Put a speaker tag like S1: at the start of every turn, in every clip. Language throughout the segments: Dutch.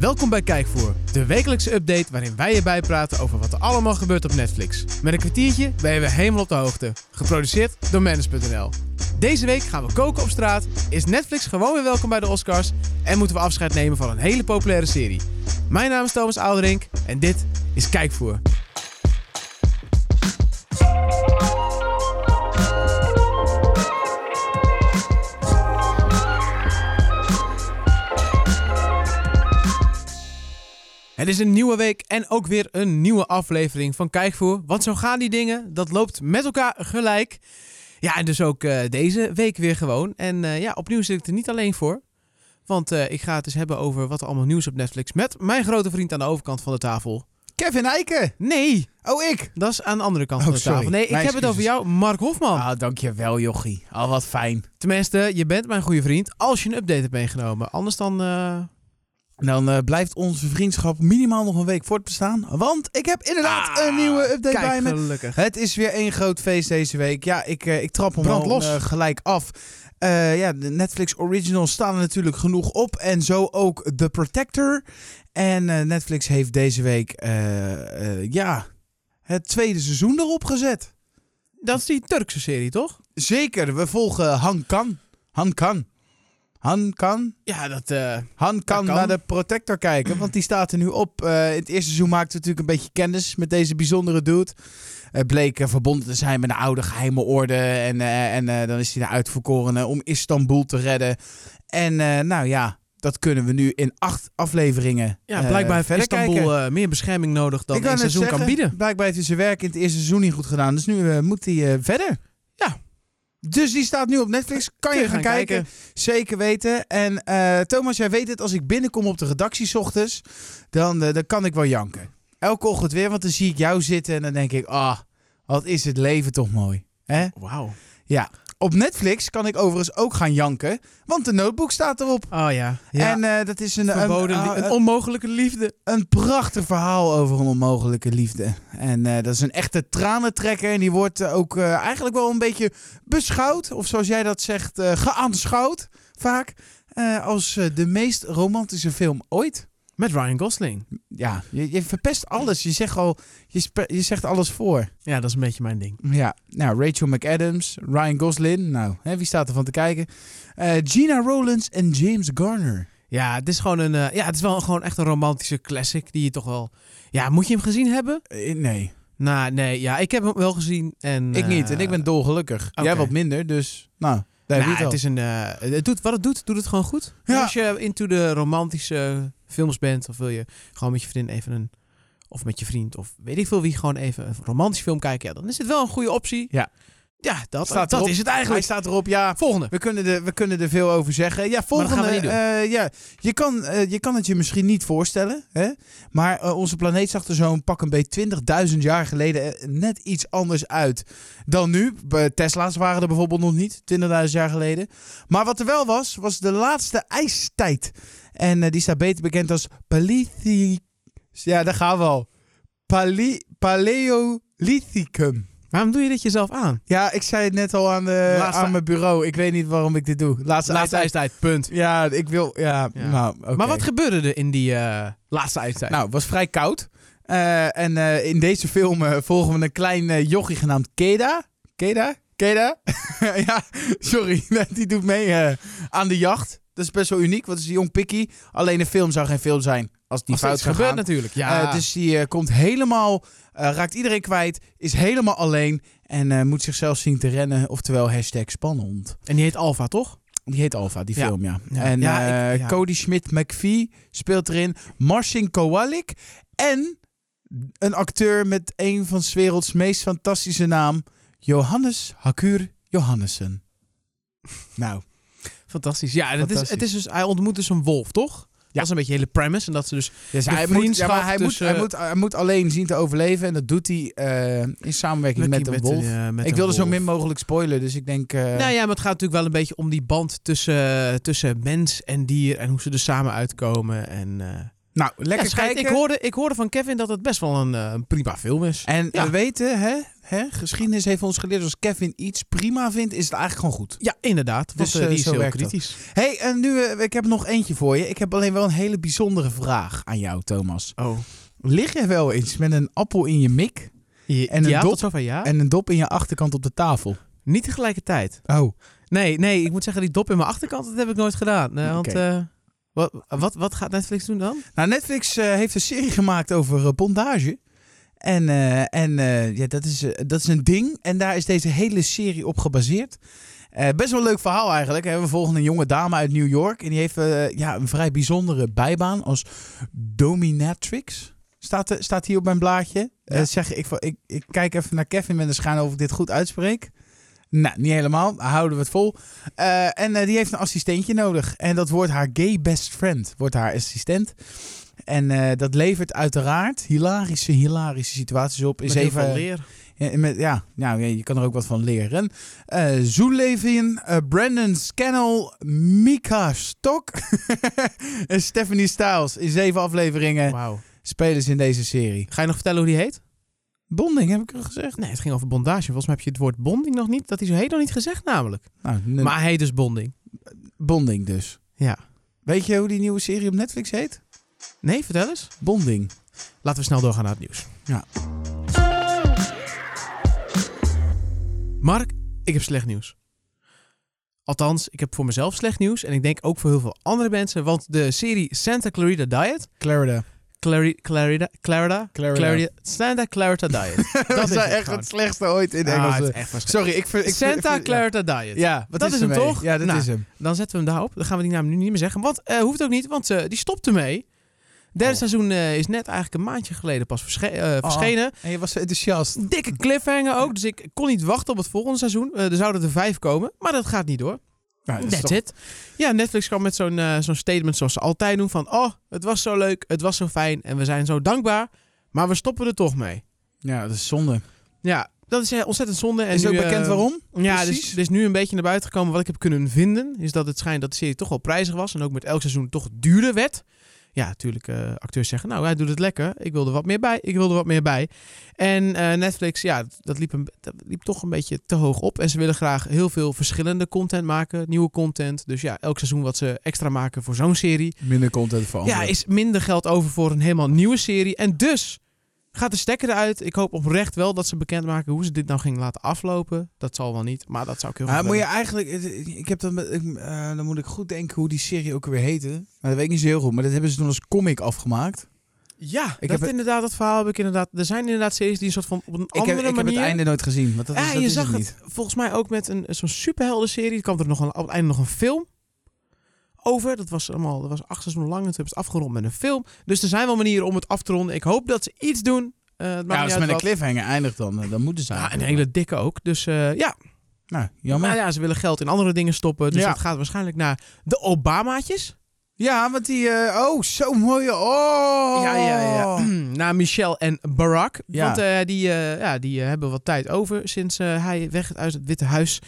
S1: Welkom bij Kijkvoer, de wekelijkse update waarin wij je bijpraten over wat er allemaal gebeurt op Netflix. Met een kwartiertje ben je weer helemaal op de hoogte. Geproduceerd door Manus.nl. Deze week gaan we koken op straat, is Netflix gewoon weer welkom bij de Oscars en moeten we afscheid nemen van een hele populaire serie. Mijn naam is Thomas Ouderink en dit is Kijkvoer. Het is een nieuwe week en ook weer een nieuwe aflevering van Kijkvoer. Want zo gaan die dingen, dat loopt met elkaar gelijk. Ja, en dus ook eh, deze week weer gewoon. En eh, ja, opnieuw zit ik er niet alleen voor. Want eh, ik ga het eens hebben over wat er allemaal nieuws op Netflix met mijn grote vriend aan de overkant van de tafel.
S2: Kevin Eiken.
S1: Nee,
S2: Oh, ik.
S1: dat is aan de andere kant
S2: Oh,
S1: van de
S2: sorry.
S1: tafel. Nee, ik
S2: Mijn
S1: heb het over
S2: excuses.
S1: jou, Mark Hofman.
S2: Ah, dankjewel, jochie. Al wat fijn.
S1: Tenminste, je bent mijn goede vriend als je een update hebt meegenomen. Anders dan... eh,
S2: Dan eh, blijft onze vriendschap minimaal nog een week voortbestaan. Want ik heb inderdaad
S1: ah,
S2: een nieuwe update
S1: kijk,
S2: bij me.
S1: gelukkig.
S2: Het is weer één groot feest deze week. Ja, ik, eh, ik trap hem
S1: Brand
S2: al
S1: los.
S2: eh, gelijk af. Eh, ja, de Netflix originals staan er natuurlijk genoeg op. En zo ook The Protector. En eh, Netflix heeft deze week eh, eh, ja, het tweede seizoen erop gezet.
S1: Dat is die Turkse serie, toch?
S2: Zeker, we volgen Han Kan. Han Kan. Han Kan.
S1: Ja, dat... eh,
S2: Han
S1: kan.
S2: kan, naar de Protector kijken, want die staat er nu op. Eh, in het eerste seizoen maakte natuurlijk een beetje kennis met deze bijzondere dude. Het bleek eh, verbonden te zijn met een oude geheime orde. En, eh, en eh, dan is hij de uitverkorene om Istanbul te redden. En eh, nou ja, dat kunnen we nu in acht afleveringen
S1: Ja,
S2: eh,
S1: blijkbaar heeft
S2: verder kijken.
S1: Istanbul eh, meer bescherming nodig dan
S2: Ik wou
S1: een
S2: net
S1: seizoen kan
S2: zeggen,
S1: bieden.
S2: Blijkbaar heeft hij zijn werk in het eerste seizoen niet goed gedaan. Dus nu eh, moet hij eh, verder.
S1: Ja.
S2: Dus die staat nu op Netflix. Kan je, gaan, kijken. Zeker weten. En eh, Thomas, jij weet het, als ik binnenkom op de redactie 's ochtends, dan, eh, dan kan ik wel janken. Elke ochtend weer, want dan zie ik jou zitten en dan denk ik, ah, wat is het leven toch mooi. Hè?
S1: Wauw.
S2: Op Netflix kan ik overigens ook gaan janken, want de notebook staat erop.
S1: Oh ja. ja.
S2: En eh, dat is een, een,
S1: Verboden
S2: ah,
S1: li- een
S2: een-
S1: onmogelijke liefde.
S2: een prachtig verhaal over een onmogelijke liefde. En eh, dat is een echte tranentrekker. En die wordt eh, ook eh, eigenlijk wel een beetje beschouwd. Of zoals jij dat zegt, eh, geaanschouwd vaak. eh, als eh, de meest romantische film ooit.
S1: Met Ryan Gosling.
S2: Ja, je, je verpest alles. Je zegt, al, je, spe- je zegt alles voor.
S1: Ja, dat is een beetje mijn ding.
S2: Ja, nou, Rachel McAdams, Ryan Gosling. Nou, hè, wie staat er van te kijken? Eh, Gina Rowlands en James Garner.
S1: Ja, het is gewoon een. eh, ja, het is wel gewoon echt een romantische classic. Die je toch wel. Ja, moet je hem gezien hebben?
S2: Eh, nee,
S1: Nou, nee. Ja, ik heb hem wel gezien. En,
S2: ik niet.
S1: eh,
S2: En ik ben dolgelukkig. Jij
S1: oké.
S2: wat minder, dus... Nou, daar heb
S1: nou,
S2: je het al.
S1: het is een. eh, het doet, wat het doet, doet het gewoon goed.
S2: Ja.
S1: En Als je into de romantische films bent, of wil je gewoon met je vriendin even een. Of met je vriend, of weet ik veel wie, gewoon even een romantische film kijken. Ja, dan is het wel een goede optie.
S2: Ja.
S1: Ja, dat,
S2: Staat
S1: dat
S2: erop.
S1: is het eigenlijk.
S2: Hij staat erop, ja.
S1: Volgende.
S2: We kunnen, er, we kunnen er veel over zeggen. Ja,
S1: dat
S2: volgende.
S1: gaan we niet doen.
S2: eh, ja, je, kan, eh, je kan het je misschien niet voorstellen. Hè? Maar eh, onze planeet zag er zo'n pak een beetje 20.000 jaar geleden eh, net iets anders uit dan nu. Be- Tesla's waren er bijvoorbeeld nog niet, 20.000 jaar geleden. Maar wat er wel was, was de laatste ijstijd. En eh, die staat beter bekend als Paleolithicum. Ja, daar gaan we al. Pale Paleolithicum.
S1: Waarom doe je dit jezelf aan?
S2: Ja, ik zei het net al aan, de,
S1: Laatste-
S2: aan mijn bureau. Ik weet niet waarom ik dit doe. Laatste,
S1: Laatste
S2: ijs-
S1: ijstijd, punt.
S2: Ja, ik wil. Ja,
S1: Ja.
S2: nou, oké.
S1: Maar wat gebeurde er in die eh, laatste ijstijd?
S2: Nou, het was vrij koud. Eh, en eh, in deze film eh, volgen we een klein eh, jochie genaamd Keda. Keda? Keda? ja, sorry. Die doet mee eh, aan de jacht. Dat is best wel uniek, want het is een jong pikkie. Alleen een film zou geen film zijn als die
S1: Als
S2: fout
S1: iets
S2: zou
S1: gebeurt
S2: gaan.
S1: natuurlijk. Ja,
S2: Eh, dus die eh, komt helemaal, eh, raakt iedereen kwijt, is helemaal alleen en eh, moet zichzelf zien te rennen. Oftewel hashtag spannend.
S1: En die heet Alfa, toch?
S2: Die heet Alpha, die
S1: Ja.
S2: film, ja.
S1: Ja.
S2: En
S1: Ja,
S2: eh,
S1: ik- ja.
S2: Cody Schmidt-McVie speelt erin. Marcin Kowalik. En een acteur met een van 's werelds meest fantastische naam. Johannes Hakur Johannessen. Nou,
S1: Fantastisch. Ja, en het, is,
S2: Fantastisch.
S1: het is dus, hij ontmoet dus een wolf, toch? Dat is een beetje de hele premise. En dat ze dus
S2: dus hij, moet, ja,
S1: vriendschap
S2: maar hij, moet,
S1: tussen-
S2: hij, moet, hij moet alleen zien te overleven. En dat doet hij eh, in samenwerking
S1: Lucky
S2: met een wolf.
S1: eh, met
S2: ik
S1: een
S2: wilde zo
S1: wolf.
S2: min mogelijk spoilen, dus ik denk... eh,
S1: Nou ja, maar het gaat natuurlijk wel een beetje om die band tussen, tussen mens en dier. En hoe ze er samen uitkomen. En eh,
S2: Nou, lekker
S1: Ja, schijt,
S2: kijken.
S1: ik, hoorde, ik hoorde van Kevin dat het best wel een eh, een prima film is.
S2: En
S1: Ja.
S2: we weten, hè, hè, geschiedenis heeft ons geleerd, als Kevin iets prima vindt, is het eigenlijk gewoon goed.
S1: Ja, inderdaad. Want
S2: Dus,
S1: eh,
S2: eh,
S1: die is
S2: zo
S1: heel
S2: werkt dat.
S1: kritisch.
S2: hey, en nu, eh, ik heb er nog eentje voor je. Ik heb alleen wel een hele bijzondere vraag aan jou, Thomas.
S1: Oh.
S2: Lig je wel eens met een appel in je mik
S1: Je,
S2: En een
S1: ja,
S2: dop-
S1: tot zover ja.
S2: en een dop in je achterkant op de tafel?
S1: Niet tegelijkertijd.
S2: Oh,
S1: Nee, nee, ik moet zeggen, die dop in mijn achterkant, dat heb ik nooit gedaan. Eh, want
S2: Oké.
S1: eh, wat, wat, wat gaat Netflix doen dan?
S2: nou Netflix eh, heeft een serie gemaakt over eh, bondage. En, eh, en eh, ja, dat, is, eh, dat is een ding. En daar is deze hele serie op gebaseerd. Eh, best wel een leuk verhaal eigenlijk. hè. We volgen een jonge dame uit New York. En die heeft eh, ja, een vrij bijzondere bijbaan als dominatrix. Staat, er- staat hier op mijn blaadje. Eh,
S1: Ja.
S2: zeg, ik, ik, ik kijk even naar Kevin met een schijn of ik dit goed uitspreek. Nou, niet helemaal. Houden we het vol. Eh, en eh, die heeft een assistentje nodig. En dat wordt haar gay best friend. Wordt haar assistent. En eh, dat levert uiteraard hilarische, hilarische situaties op. Is
S1: Met heel
S2: even,
S1: veel leer.
S2: ja, met, ja, nou, ja, je kan er ook wat van leren. Eh Zulevin, eh, Brandon Scannell, Mika Stok en Stephanie Styles. In zeven afleveringen
S1: Wauw.
S2: spelers in deze serie.
S1: Ga je nog vertellen hoe die heet?
S2: Bonding heb ik al gezegd.
S1: Nee, het ging over bondage. Volgens mij heb je het woord bonding nog niet. Dat is zo heet nog niet gezegd namelijk.
S2: Nou, n-
S1: Maar hij heet dus bonding.
S2: Bonding dus.
S1: Ja.
S2: Weet je hoe die nieuwe serie op Netflix heet?
S1: Nee, vertel eens.
S2: Bonding.
S1: Laten we snel doorgaan naar het nieuws.
S2: Ja.
S1: Mark, ik heb slecht nieuws. Althans, ik heb voor mezelf slecht nieuws. En ik denk ook voor heel veel andere mensen. Want de serie Santa Clarita Diet...
S2: Clarida.
S1: Clari, Clarida, Clarida,
S2: Clarida.
S1: Santa Clarita Diet.
S2: Dat,
S1: is
S2: is
S1: het
S2: echt
S1: gewoon.
S2: het slechtste ooit in
S1: Ah,
S2: Engels.
S1: het is echt waarschijnlijk.
S2: Sorry, ik vind... Ik vind- ik
S1: Santa
S2: vind-
S1: Clarita Diet.
S2: Ja, ja wat
S1: Dat
S2: is
S1: is hem
S2: ermee?
S1: toch?
S2: Ja, dat
S1: Nou.
S2: is hem.
S1: Dan zetten we hem daarop. Dan gaan we die naam nu niet meer zeggen. Want eh, hoeft ook niet, want eh, die stopt ermee. Derde
S2: Oh.
S1: seizoen eh, is net eigenlijk een maandje geleden pas versche- eh, verschenen.
S2: En je was zo enthousiast.
S1: Dikke cliffhanger ook. Dus ik kon niet wachten op het volgende seizoen. Eh, er zouden er vijf komen, maar dat gaat niet door.
S2: Nou, dat is
S1: That's
S2: toch-
S1: it. Ja, Netflix kwam met zo'n eh, zo'n statement zoals ze altijd doen. Van, oh, het was zo leuk, het was zo fijn en we zijn zo dankbaar. Maar we stoppen er toch mee.
S2: Ja, dat is zonde.
S1: Ja, dat is eh, ontzettend zonde. En
S2: is ook
S1: nu, eh,
S2: bekend waarom?
S1: Ja,
S2: Precies.
S1: dus, dus nu een beetje naar buiten gekomen wat ik heb kunnen vinden. Is dat het schijnt dat de serie toch wel prijzig was. En ook met elk seizoen toch duurder werd. Ja, natuurlijk. eh, acteurs zeggen, nou, hij doet het lekker. Ik wil er wat meer bij. Ik wil er wat meer bij. En eh, Netflix, ja, dat- dat liep, een, dat liep toch een beetje te hoog op. En ze willen graag heel veel verschillende content maken. Nieuwe content. Dus ja, elk seizoen wat ze extra maken voor zo'n serie.
S2: Minder content van.
S1: Ja, is minder geld over voor een helemaal nieuwe serie. En dus gaat de stekker eruit. Ik hoop oprecht wel dat ze bekendmaken hoe ze dit nou ging laten aflopen. Dat zal wel niet, maar dat zou ik heel graag
S2: moet je
S1: willen.
S2: eigenlijk, ik heb dat, met- ik, eh, dan moet ik goed denken hoe die serie ook weer heette. Nou, dat weet ik niet zo heel goed, maar dat hebben ze toen als comic afgemaakt.
S1: Ja,
S2: Ik
S1: dat,
S2: heb-
S1: inderdaad, dat verhaal heb ik inderdaad... Er zijn inderdaad series die een soort van op een
S2: Ik
S1: andere
S2: heb, ik heb
S1: manier...
S2: het einde nooit gezien, want dat
S1: ja,
S2: is, dat
S1: je
S2: is
S1: zag
S2: het
S1: het,
S2: niet.
S1: volgens mij ook met een, zo'n superhelden-serie. Er kwam er nog een, op het einde nog een film over. Dat was allemaal, dat was acht seizoenen lang en toen hebben ze het afgerond met een film. Dus er zijn wel manieren om het af te ronden. Ik hoop dat ze iets doen. Eh, het maakt
S2: Ja,
S1: niet
S2: als
S1: uit
S2: het met een
S1: wat.
S2: cliffhanger eindigt dan, eh, dan moeten ze
S1: Ja, een
S2: eigenlijk.
S1: hele dikke ook. Dus eh, ja,
S2: Nou, jammer.
S1: Maar ja, ze willen geld in andere dingen stoppen. Dus
S2: Ja.
S1: dat gaat waarschijnlijk naar de Obamaatjes.
S2: Ja, want die, eh, oh, zo mooie, oh.
S1: Ja, ja, ja. naar Michelle en Barack.
S2: Ja.
S1: Want eh, die, eh, ja, die eh, hebben wat tijd over sinds eh, hij weg is uit het Witte Huis.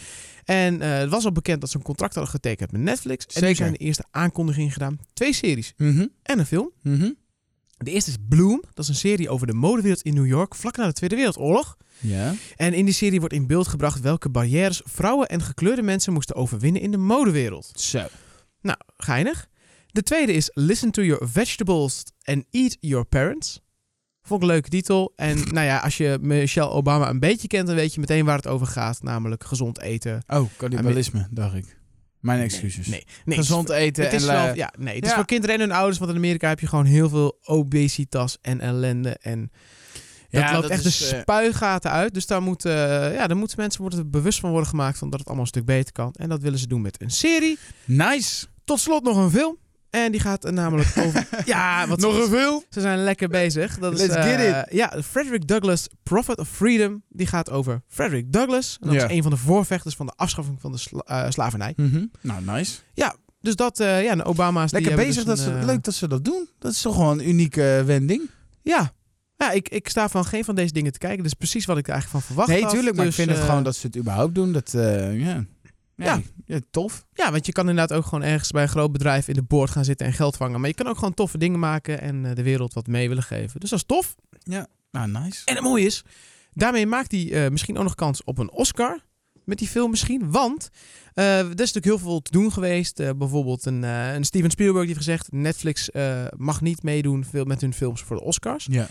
S1: En eh, het was al bekend dat ze een contract hadden getekend met Netflix. En
S2: Zeker.
S1: nu zijn de eerste aankondigingen gedaan. Twee series
S2: Mhm,
S1: en een film.
S2: mhm.
S1: De eerste is Bloom. Dat is een serie over de modewereld in New York vlak na de Tweede Wereldoorlog.
S2: Ja.
S1: En in die serie wordt in beeld gebracht welke barrières vrouwen en gekleurde mensen moesten overwinnen in de modewereld.
S2: Zo.
S1: Nou, geinig. De tweede is Listen to Your Vegetables and Eat Your Parents. Vond ik een leuke titel. En nou ja, als je Michelle Obama een beetje kent, dan weet je meteen waar het over gaat. Namelijk gezond eten.
S2: Oh, cannibalisme, dacht ik. Mijn excuses.
S1: Nee, nee
S2: Gezond eten
S1: Het is
S2: en... eh,
S1: wel, ja, nee, het is
S2: ja.
S1: voor kinderen en hun ouders, want in Amerika heb je gewoon heel veel obesitas en ellende. En dat
S2: Ja,
S1: loopt
S2: dat
S1: echt
S2: is,
S1: de
S2: eh,
S1: spuigaten uit. Dus daar, moet, eh, ja, daar moeten mensen worden bewust van worden gemaakt van dat het allemaal een stuk beter kan. En dat willen ze doen met een serie.
S2: Nice.
S1: Tot slot nog een film. En die gaat eh, namelijk over... ja, wat
S2: Nog een film.
S1: Ze zijn lekker bezig. Dat is,
S2: Let's get
S1: eh, Ja, Frederick Douglass, Prophet of Freedom. Die gaat over Frederick Douglass. En dat
S2: Ja.
S1: is een van de voorvechters van de afschaffing van de sla- eh, slavernij.
S2: Nou, nice.
S1: Dus dat, eh, ja, en Obama's... die
S2: Lekker
S1: hebben
S2: bezig.
S1: dus
S2: dat ze,
S1: een, eh,
S2: Leuk dat ze dat doen. Dat is toch gewoon een unieke eh, wending.
S1: Ja, ja ik, ik sta van geen van deze dingen te kijken. Dat is precies wat ik er eigenlijk van verwacht
S2: nee,
S1: had.
S2: tuurlijk. Maar
S1: Dus,
S2: ik vind
S1: eh,
S2: het gewoon dat ze het überhaupt doen. Dat, eh, ja. Ja, ja, tof.
S1: Ja, want je kan inderdaad ook gewoon ergens bij een groot bedrijf in de boord gaan zitten en geld vangen. Maar je kan ook gewoon toffe dingen maken en eh, de wereld wat mee willen geven. Dus dat is tof.
S2: Nou, nice.
S1: En het mooie is, daarmee maakt hij eh, misschien ook nog kans op een Oscar. Met die film misschien. Want eh, er is natuurlijk heel veel te doen geweest. Eh, bijvoorbeeld een, eh, een Steven Spielberg die heeft gezegd... Netflix eh, mag niet meedoen veel met hun films voor de Oscars.
S2: Ja.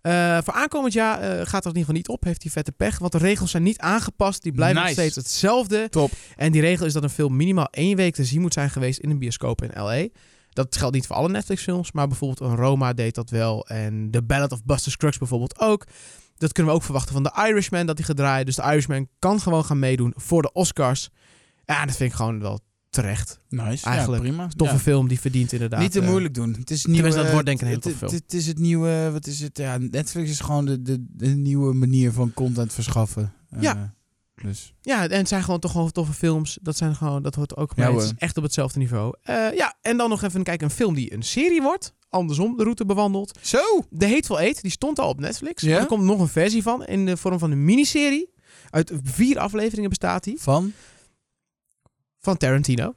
S1: Eh, voor aankomend jaar eh, gaat dat in ieder geval niet op. Heeft hij vette pech. Want de regels zijn niet aangepast. Die blijven nog
S2: Nice.
S1: steeds hetzelfde.
S2: Top.
S1: En die regel is dat een film minimaal één week te zien moet zijn geweest in een bioscoop in L.A. Dat geldt niet voor alle Netflix-films, maar bijvoorbeeld een Roma deed dat wel. En The Ballad of Buster Scruggs bijvoorbeeld ook. Dat kunnen we ook verwachten van The Irishman, dat hij gaat draaien. Dus The Irishman kan gewoon gaan meedoen voor de Oscars. Ja, dat vind ik gewoon wel terecht.
S2: Nice.
S1: Eigenlijk.
S2: Ja, prima.
S1: Toffe
S2: Ja.
S1: film, die verdient inderdaad.
S2: Niet te
S1: eh,
S2: moeilijk doen. Het is nieuw.
S1: dat wordt denk ik een hele toffe film.
S2: Het is het nieuwe, wat is het? Ja, Netflix is gewoon de, de, de nieuwe manier van content verschaffen. Eh,
S1: Ja.
S2: Dus
S1: Ja, en het zijn gewoon toch gewoon toffe films. Dat, zijn gewoon, dat hoort ook bij.
S2: Ja,
S1: het is
S2: hoor.
S1: echt op hetzelfde niveau. Eh, ja, en dan nog even kijken. Een film die een serie wordt. Andersom, de route bewandeld.
S2: zo.
S1: De Hateful Eight, die stond al op Netflix.
S2: Ja?
S1: Er komt nog een versie van in de vorm van een miniserie. Uit vier afleveringen bestaat die.
S2: Van?
S1: Van Tarantino.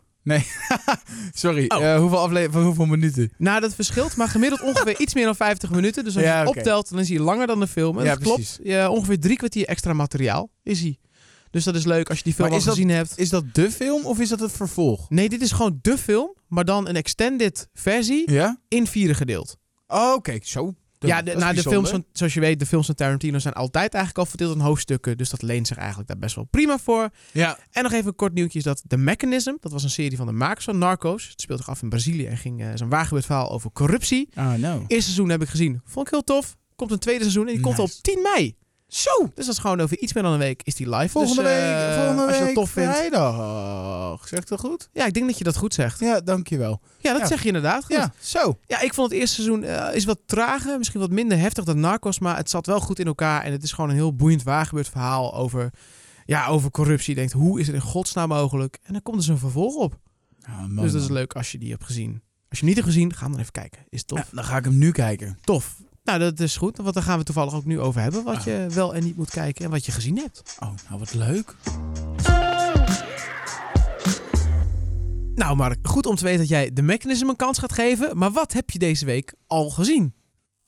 S2: Sorry.
S1: Oh.
S2: eh, hoeveel afleveringen? Hoeveel minuten?
S1: Nou, dat verschilt, maar gemiddeld ongeveer iets meer dan 50 minuten. Dus als
S2: Ja,
S1: je het
S2: oké.
S1: optelt, dan is hij langer dan de film. En
S2: Ja,
S1: dat klopt.
S2: precies.
S1: Ja, ongeveer drie kwartier extra materiaal is hij. Dus dat is leuk als je die film
S2: Maar
S1: al
S2: is dat-
S1: gezien hebt.
S2: Is dat de film of is dat het vervolg?
S1: Nee, dit is gewoon de film, maar dan een extended versie
S2: Ja.
S1: in vieren gedeeld.
S2: Oh, oké. Zo.
S1: ja, de,
S2: dat is
S1: nou, de films
S2: bijzonder.
S1: van, zoals je weet, de films van Tarantino zijn altijd eigenlijk al verdeeld in hoofdstukken. Dus dat leent zich eigenlijk daar best wel prima voor.
S2: Ja.
S1: En nog even een kort nieuwtje is dat The Mechanism, dat was een serie van de makers van Narcos. Het speelt zich af in Brazilië en ging eh, zo'n waargebeurd verhaal over corruptie.
S2: Ah, nou.
S1: Eerste seizoen heb ik gezien, vond ik heel tof. Komt een tweede seizoen en die komt
S2: Nice.
S1: op 10 mei.
S2: Zo.
S1: Dus dat is gewoon over iets meer dan een week is die live.
S2: Volgende
S1: Dus, eh,
S2: week, volgende
S1: Als je
S2: week
S1: dat tof vindt.
S2: vrijdag. Zegt dat goed?
S1: Ja, ik denk dat je dat goed zegt.
S2: Ja, dankjewel.
S1: Ja, dat
S2: Ja.
S1: zeg je inderdaad goed. Ja.
S2: Ja, zo.
S1: ik vond het eerste seizoen eh, is wat trager, misschien wat minder heftig dan Narcos, maar het zat wel goed in elkaar en het is gewoon een heel boeiend waargebeurd verhaal over, ja, over corruptie. Je denkt, hoe is het in godsnaam mogelijk? En dan komt dus een vervolg op.
S2: Ah,
S1: dus dat is leuk als je die hebt gezien. Als je hem niet hebt gezien, ga hem dan even kijken. Is tof.
S2: Ja, Nou, dan ga ik hem nu kijken.
S1: Tof. Nou, dat is goed, want daar gaan we toevallig ook nu over hebben. Wat
S2: Ah.
S1: je wel en niet moet kijken en wat je gezien hebt.
S2: Oh, nou wat leuk.
S1: Nou, Mark, goed om te weten dat jij de mechanism een kans gaat geven. Maar wat heb je deze week al gezien?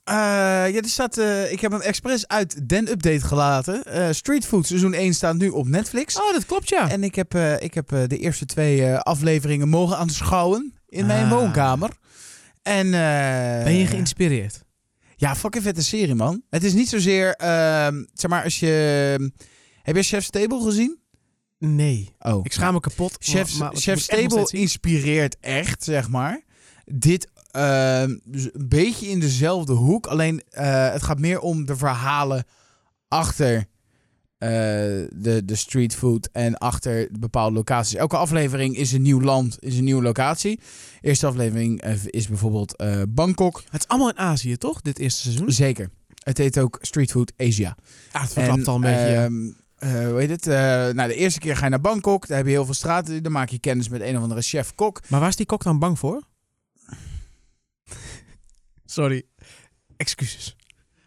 S2: Eh, ja, er staat, eh, ik heb hem expres uit Den Update gelaten. Eh, Street Food seizoen 1 staat nu op Netflix.
S1: Oh, dat klopt ja.
S2: En ik heb, eh, ik heb eh, de eerste twee eh, afleveringen mogen aanschouwen in mijn
S1: Ah.
S2: woonkamer. En, eh,
S1: Ben je geïnspireerd?
S2: Ja, fucking vette serie, man. Het is niet zozeer, ehm, zeg maar, als je... Heb je Chef's Table gezien?
S1: Nee.
S2: Oh.
S1: Ik schaam me kapot.
S2: Chef's,
S1: maar- maar-
S2: Chef's
S1: ik moet echt nog
S2: Table
S1: steeds zien.
S2: inspireert echt, zeg maar. Dit ehm, dus een beetje in dezelfde hoek. Alleen eh, het gaat meer om de verhalen achter eh, de, de streetfood en achter bepaalde locaties. Elke aflevering is een nieuw land, is een nieuwe locatie. Eerste aflevering eh, is bijvoorbeeld eh, Bangkok.
S1: Het is allemaal in Azië, toch? Dit eerste seizoen.
S2: Zeker. Het heet ook Streetfood Asia.
S1: Ja, het verklapt al een beetje. ja.
S2: ehm, eh, hoe heet het? Eh, nou, de eerste keer ga je naar Bangkok. Daar heb je heel veel straten. Dan maak je kennis met een of andere chef-kok.
S1: Maar waar is die kok dan bang voor? Sorry. Excuses.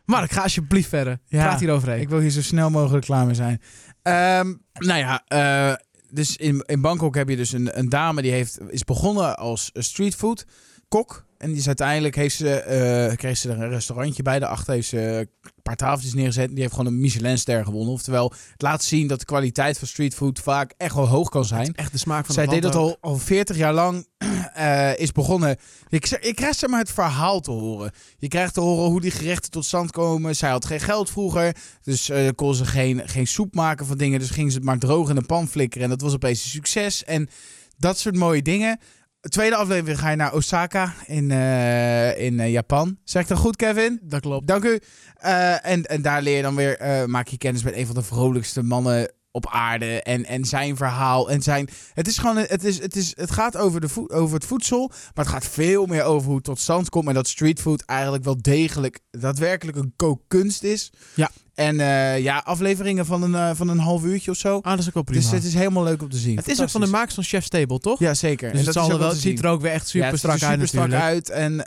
S1: Mark, ga alsjeblieft verder.
S2: Ja.
S1: Praat hieroverheen.
S2: Ik wil hier zo snel mogelijk klaar mee zijn. Ehm, nou ja, eh, dus in, in Bangkok heb je dus een, een dame die heeft, is begonnen als streetfood kok. En die is uiteindelijk heeft ze, eh, kreeg ze er een restaurantje bij. Daarachter heeft ze een paar tafeltjes neergezet. En die heeft gewoon een Michelinster gewonnen. Oftewel, het laat zien dat de kwaliteit van streetfood vaak echt wel hoog kan zijn.
S1: Echt de smaak van
S2: Zij
S1: het
S2: deed
S1: land
S2: dat
S1: ook.
S2: al, al 40 jaar lang. eh, is begonnen. Ik, zeg- ik krijg zeg maar het verhaal te horen. Je krijgt te horen hoe die gerechten tot stand komen. Zij had geen geld vroeger. Dus eh kon ze geen, geen soep maken van dingen. Dus ging ze het maar droog in een pan flikkeren. En dat was opeens een succes. En dat soort mooie dingen. Tweede aflevering ga je naar Osaka in, eh, in eh, Japan. Zeg ik dat goed, Kevin?
S1: Dat klopt.
S2: Dank u. Eh, en, en daar leer je dan weer, eh, maak je kennis met een van de vrolijkste mannen op aarde. En, en zijn verhaal. En zijn, het, is gewoon, een- het, is, het, is, het gaat over, de voe- over het voedsel. Maar het gaat veel meer over hoe het tot stand komt. En dat streetfood eigenlijk wel degelijk, daadwerkelijk een kookkunst is.
S1: Ja.
S2: En eh, ja, afleveringen van een, eh, van een half uurtje of zo.
S1: Ah, dat is ook wel prima.
S2: Dus het is helemaal leuk om te zien.
S1: het is ook van de
S2: Fantastisch.
S1: makers van Chef's Table, toch?
S2: Ja, zeker.
S1: Dus
S2: En
S1: het,
S2: dat
S1: zal
S2: is
S1: er
S2: ook
S1: wel,
S2: te
S1: het
S2: zien.
S1: ziet er ook weer echt super
S2: Ja, het ziet
S1: strak
S2: er
S1: uit
S2: super strak
S1: natuurlijk.
S2: uit. En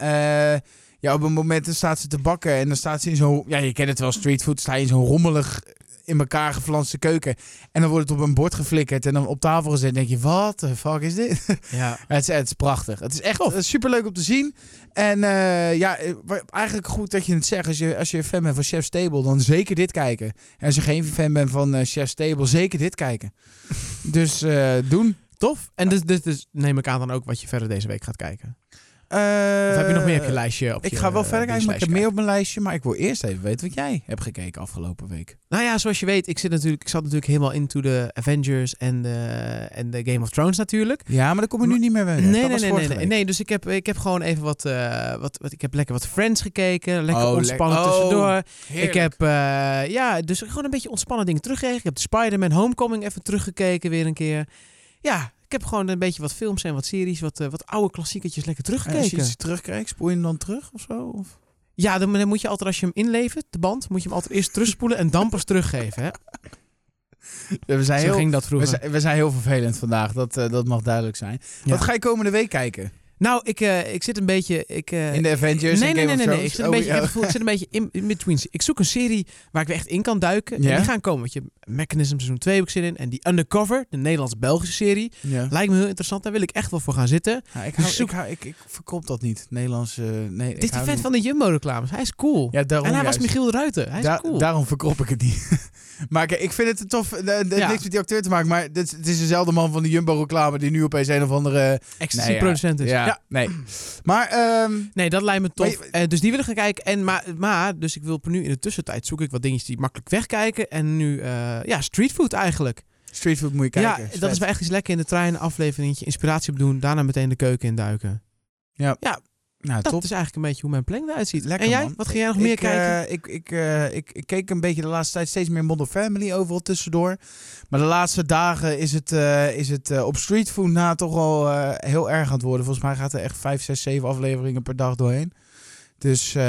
S2: eh, ja, op een moment dan staat ze te bakken en dan staat ze in zo'n... Ja, je kent het wel, streetfood. Sta je in zo'n rommelig in elkaar geflanste keuken. En dan wordt het op een bord geflikkerd en dan op tafel gezet. En denk je, wat de fuck is dit?
S1: Ja.
S2: Het is, het is prachtig. Het is echt eh, superleuk om te zien. En eh, ja, eh, wa- eigenlijk goed dat je het zegt. Als je, als je fan bent van Chef's Table, dan zeker dit kijken. En als je geen fan bent van eh, Chef's Table, zeker dit kijken. dus eh, doen.
S1: Tof. En dus, dus, dus neem ik aan dan ook wat je verder deze week gaat kijken.
S2: Eh,
S1: Of heb je nog meer op je lijstje? Op
S2: Ik
S1: je,
S2: ga wel
S1: eh,
S2: verder kijken, maar ik heb
S1: dienstlijstje?
S2: meer op mijn lijstje. Maar ik wil eerst even weten wat jij hebt gekeken afgelopen week.
S1: Nou ja, zoals je weet, ik, zit natuurlijk, ik zat natuurlijk helemaal into de Avengers en de, en de Game of Thrones natuurlijk.
S2: Oh Ja, maar daar kom ik nu
S1: Maar-
S2: niet meer bij.
S1: Nee, nee, nee, nee, nee, nee. Dus ik heb, ik heb gewoon even wat, eh, wat, wat... Ik heb lekker wat Friends gekeken. Lekker
S2: Oh, le-
S1: ontspannen
S2: oh,
S1: tussendoor.
S2: Ik
S1: Ik
S2: heb...
S1: heb, eh, ja, dus gewoon een beetje ontspannen dingen teruggekeken. Ik heb de Spider-Man Homecoming even teruggekeken weer een keer. Ja, ik heb gewoon een beetje wat films en wat series, wat, eh, wat oude klassieketjes lekker
S2: Als je
S1: teruggekeken.
S2: iets terugkrijgt, spoel je hem dan terug of zo? Of?
S1: Ja, dan, dan moet je altijd als je hem inlevert, de band, moet je hem altijd eerst terugspoelen en dan pas teruggeven. Hè?
S2: We zijn
S1: Zo ging dat
S2: We
S1: vroeger.
S2: zijn, we zijn heel vervelend vandaag, dat, eh, dat mag duidelijk zijn.
S1: Ja.
S2: Wat ga je komende week kijken?
S1: Nou, ik, eh, ik zit een beetje... Ik, eh,
S2: In de Avengers
S1: nee,
S2: en
S1: nee,
S2: Game
S1: nee, nee,
S2: of
S1: nee. Ik
S2: Thrones?
S1: zit een
S2: Oh,
S1: beetje, ik heb
S2: ja.
S1: het gevoel, ik zit een beetje in, in between. Ik zoek een serie waar ik weer echt in kan duiken.
S2: Ja?
S1: En die gaan komen. Want je Mechanism seizoen 2 heb ik zin in. En die Undercover, de Nederlands-Belgische serie,
S2: Ja.
S1: lijkt me heel interessant. Daar wil ik echt wel voor gaan zitten.
S2: Ja,
S1: Dus
S2: ik, hou, ik,
S1: zoek-
S2: hou- ik, ik verkoop dat niet. Nederlands, eh, nee. ik
S1: Dit is die
S2: hou
S1: vent
S2: niet.
S1: van de Jumbo-reclames. Hij is cool.
S2: Ja, daarom
S1: en hij
S2: juist.
S1: was Michiel de Ruiter. Hij is
S2: Da-
S1: cool.
S2: Daarom verkoop ik het niet. maar kijk, ik vind het een tof. eh, eh,
S1: Ja.
S2: Niks met die acteur te maken, maar dit, het is dezelfde man van de Jumbo-reclame die nu opeens een of andere. Nee, ja.
S1: Ecstasy-producent is.
S2: Dus, ja,
S1: Ja.
S2: nee. Maar, ehm,
S1: Nee, dat lijkt me tof.
S2: Maar
S1: Eh, dus die willen gaan kijken. En maar, maar, dus ik wil nu in de tussentijd zoek ik wat dingetjes die makkelijk wegkijken. En nu, eh, ja, streetfood eigenlijk.
S2: Streetfood moet je kijken.
S1: ja, dat
S2: vet.
S1: is wel echt eens lekker in de trein, een afleveringetje, inspiratie opdoen. Daarna meteen de keuken induiken.
S2: Nou,
S1: Dat
S2: top.
S1: is eigenlijk een beetje hoe mijn planning eruit ziet.
S2: Lekker,
S1: en jij?
S2: man.
S1: Wat ga jij nog meer
S2: ik,
S1: kijken?
S2: eh, ik, ik, eh, ik, ik keek een beetje de laatste tijd steeds meer Modern Family overal tussendoor. Maar de laatste dagen is het, eh, is het eh, op streetfood na toch al eh, heel erg aan het worden. Volgens mij gaat er echt 5, 6, 7 afleveringen per dag doorheen. Dus eh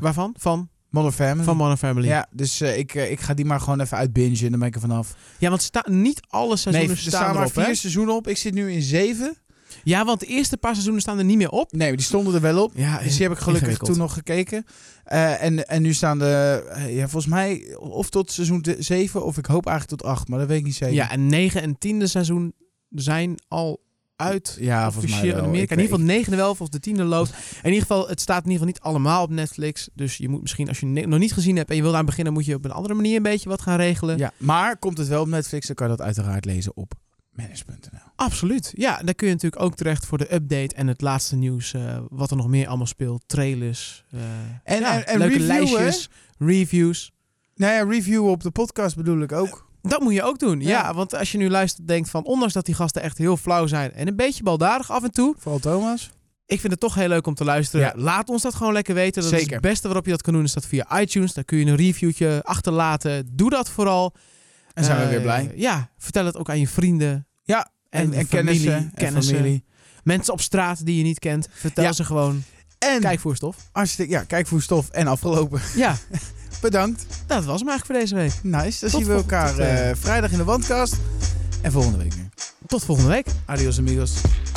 S1: Waarvan? Van?
S2: Modern Family.
S1: Van Man Family. Mm. Ja,
S2: ja, dus eh, ik, eh, ik ga die maar gewoon even uitbingen en dan ben ik er vanaf.
S1: want sta, niet alle seizoenen
S2: Nee, er
S1: staan
S2: staan maar
S1: erop,
S2: vier
S1: hè?
S2: seizoenen op. Ik zit nu in zeven.
S1: Ja, want de eerste paar seizoenen staan er niet meer op.
S2: Nee, die stonden er wel op.
S1: Ja,
S2: Dus die heb ik gelukkig
S1: ingewikkeld.
S2: toen nog gekeken. Eh, en, en nu staan de, eh, ja, volgens mij of tot seizoen 7 of ik hoop eigenlijk tot 8, maar dat weet ik niet zeker.
S1: Ja, en negen en tiende seizoen zijn al uit.
S2: ja volgens mij
S1: officieel
S2: wel.
S1: in Amerika.
S2: Ik
S1: In ieder
S2: weet-
S1: geval negende wel of de tiende loopt. In ieder geval, het staat in ieder geval niet allemaal op Netflix. Dus je moet misschien, als je ne- nog niet gezien hebt en je wil aan beginnen, moet je op een andere manier een beetje wat gaan regelen.
S2: ja, maar komt het wel op Netflix, dan kan je dat uiteraard lezen op manage.nl.
S1: Absoluut. Ja, daar kun je natuurlijk ook terecht voor de update en het laatste nieuws. eh, wat er nog meer allemaal speelt. Trailers. eh,
S2: En-
S1: ja,
S2: en- en
S1: leuke
S2: review, hè?
S1: lijstjes. Reviews.
S2: Nou ja, review op de podcast bedoel ik ook.
S1: Dat moet je ook doen. Ja.
S2: Ja.
S1: want als je nu luistert, denkt van, ondanks dat die gasten echt heel flauw zijn en een beetje baldadig af en toe,
S2: Vooral Thomas.
S1: Ik vind het toch heel leuk om te luisteren.
S2: Ja.
S1: Laat ons dat gewoon lekker weten. Dat is
S2: Zeker.
S1: het beste waarop je dat kan doen. Is dat via iTunes. Daar kun je een reviewtje achterlaten. Doe dat vooral.
S2: En zijn we
S1: Eh,
S2: weer blij.
S1: Ja, vertel het ook aan je vrienden.
S2: Ja,
S1: En, en familie,
S2: kennissen,
S1: kennissen.
S2: En familie.
S1: Mensen op straat die je niet kent. Vertel
S2: Ja.
S1: ze gewoon.
S2: En
S1: Kijk voor stof.
S2: hartstikke, ja, kijk voor stof en afgelopen.
S1: Ja,
S2: Bedankt.
S1: dat was hem eigenlijk voor deze week.
S2: Nice.
S1: Tot
S2: Dan zien we
S1: volgende-
S2: elkaar
S1: tot, eh,
S2: eh, vrijdag in de Wandkast. En volgende week weer.
S1: Tot volgende week.
S2: Adios amigos.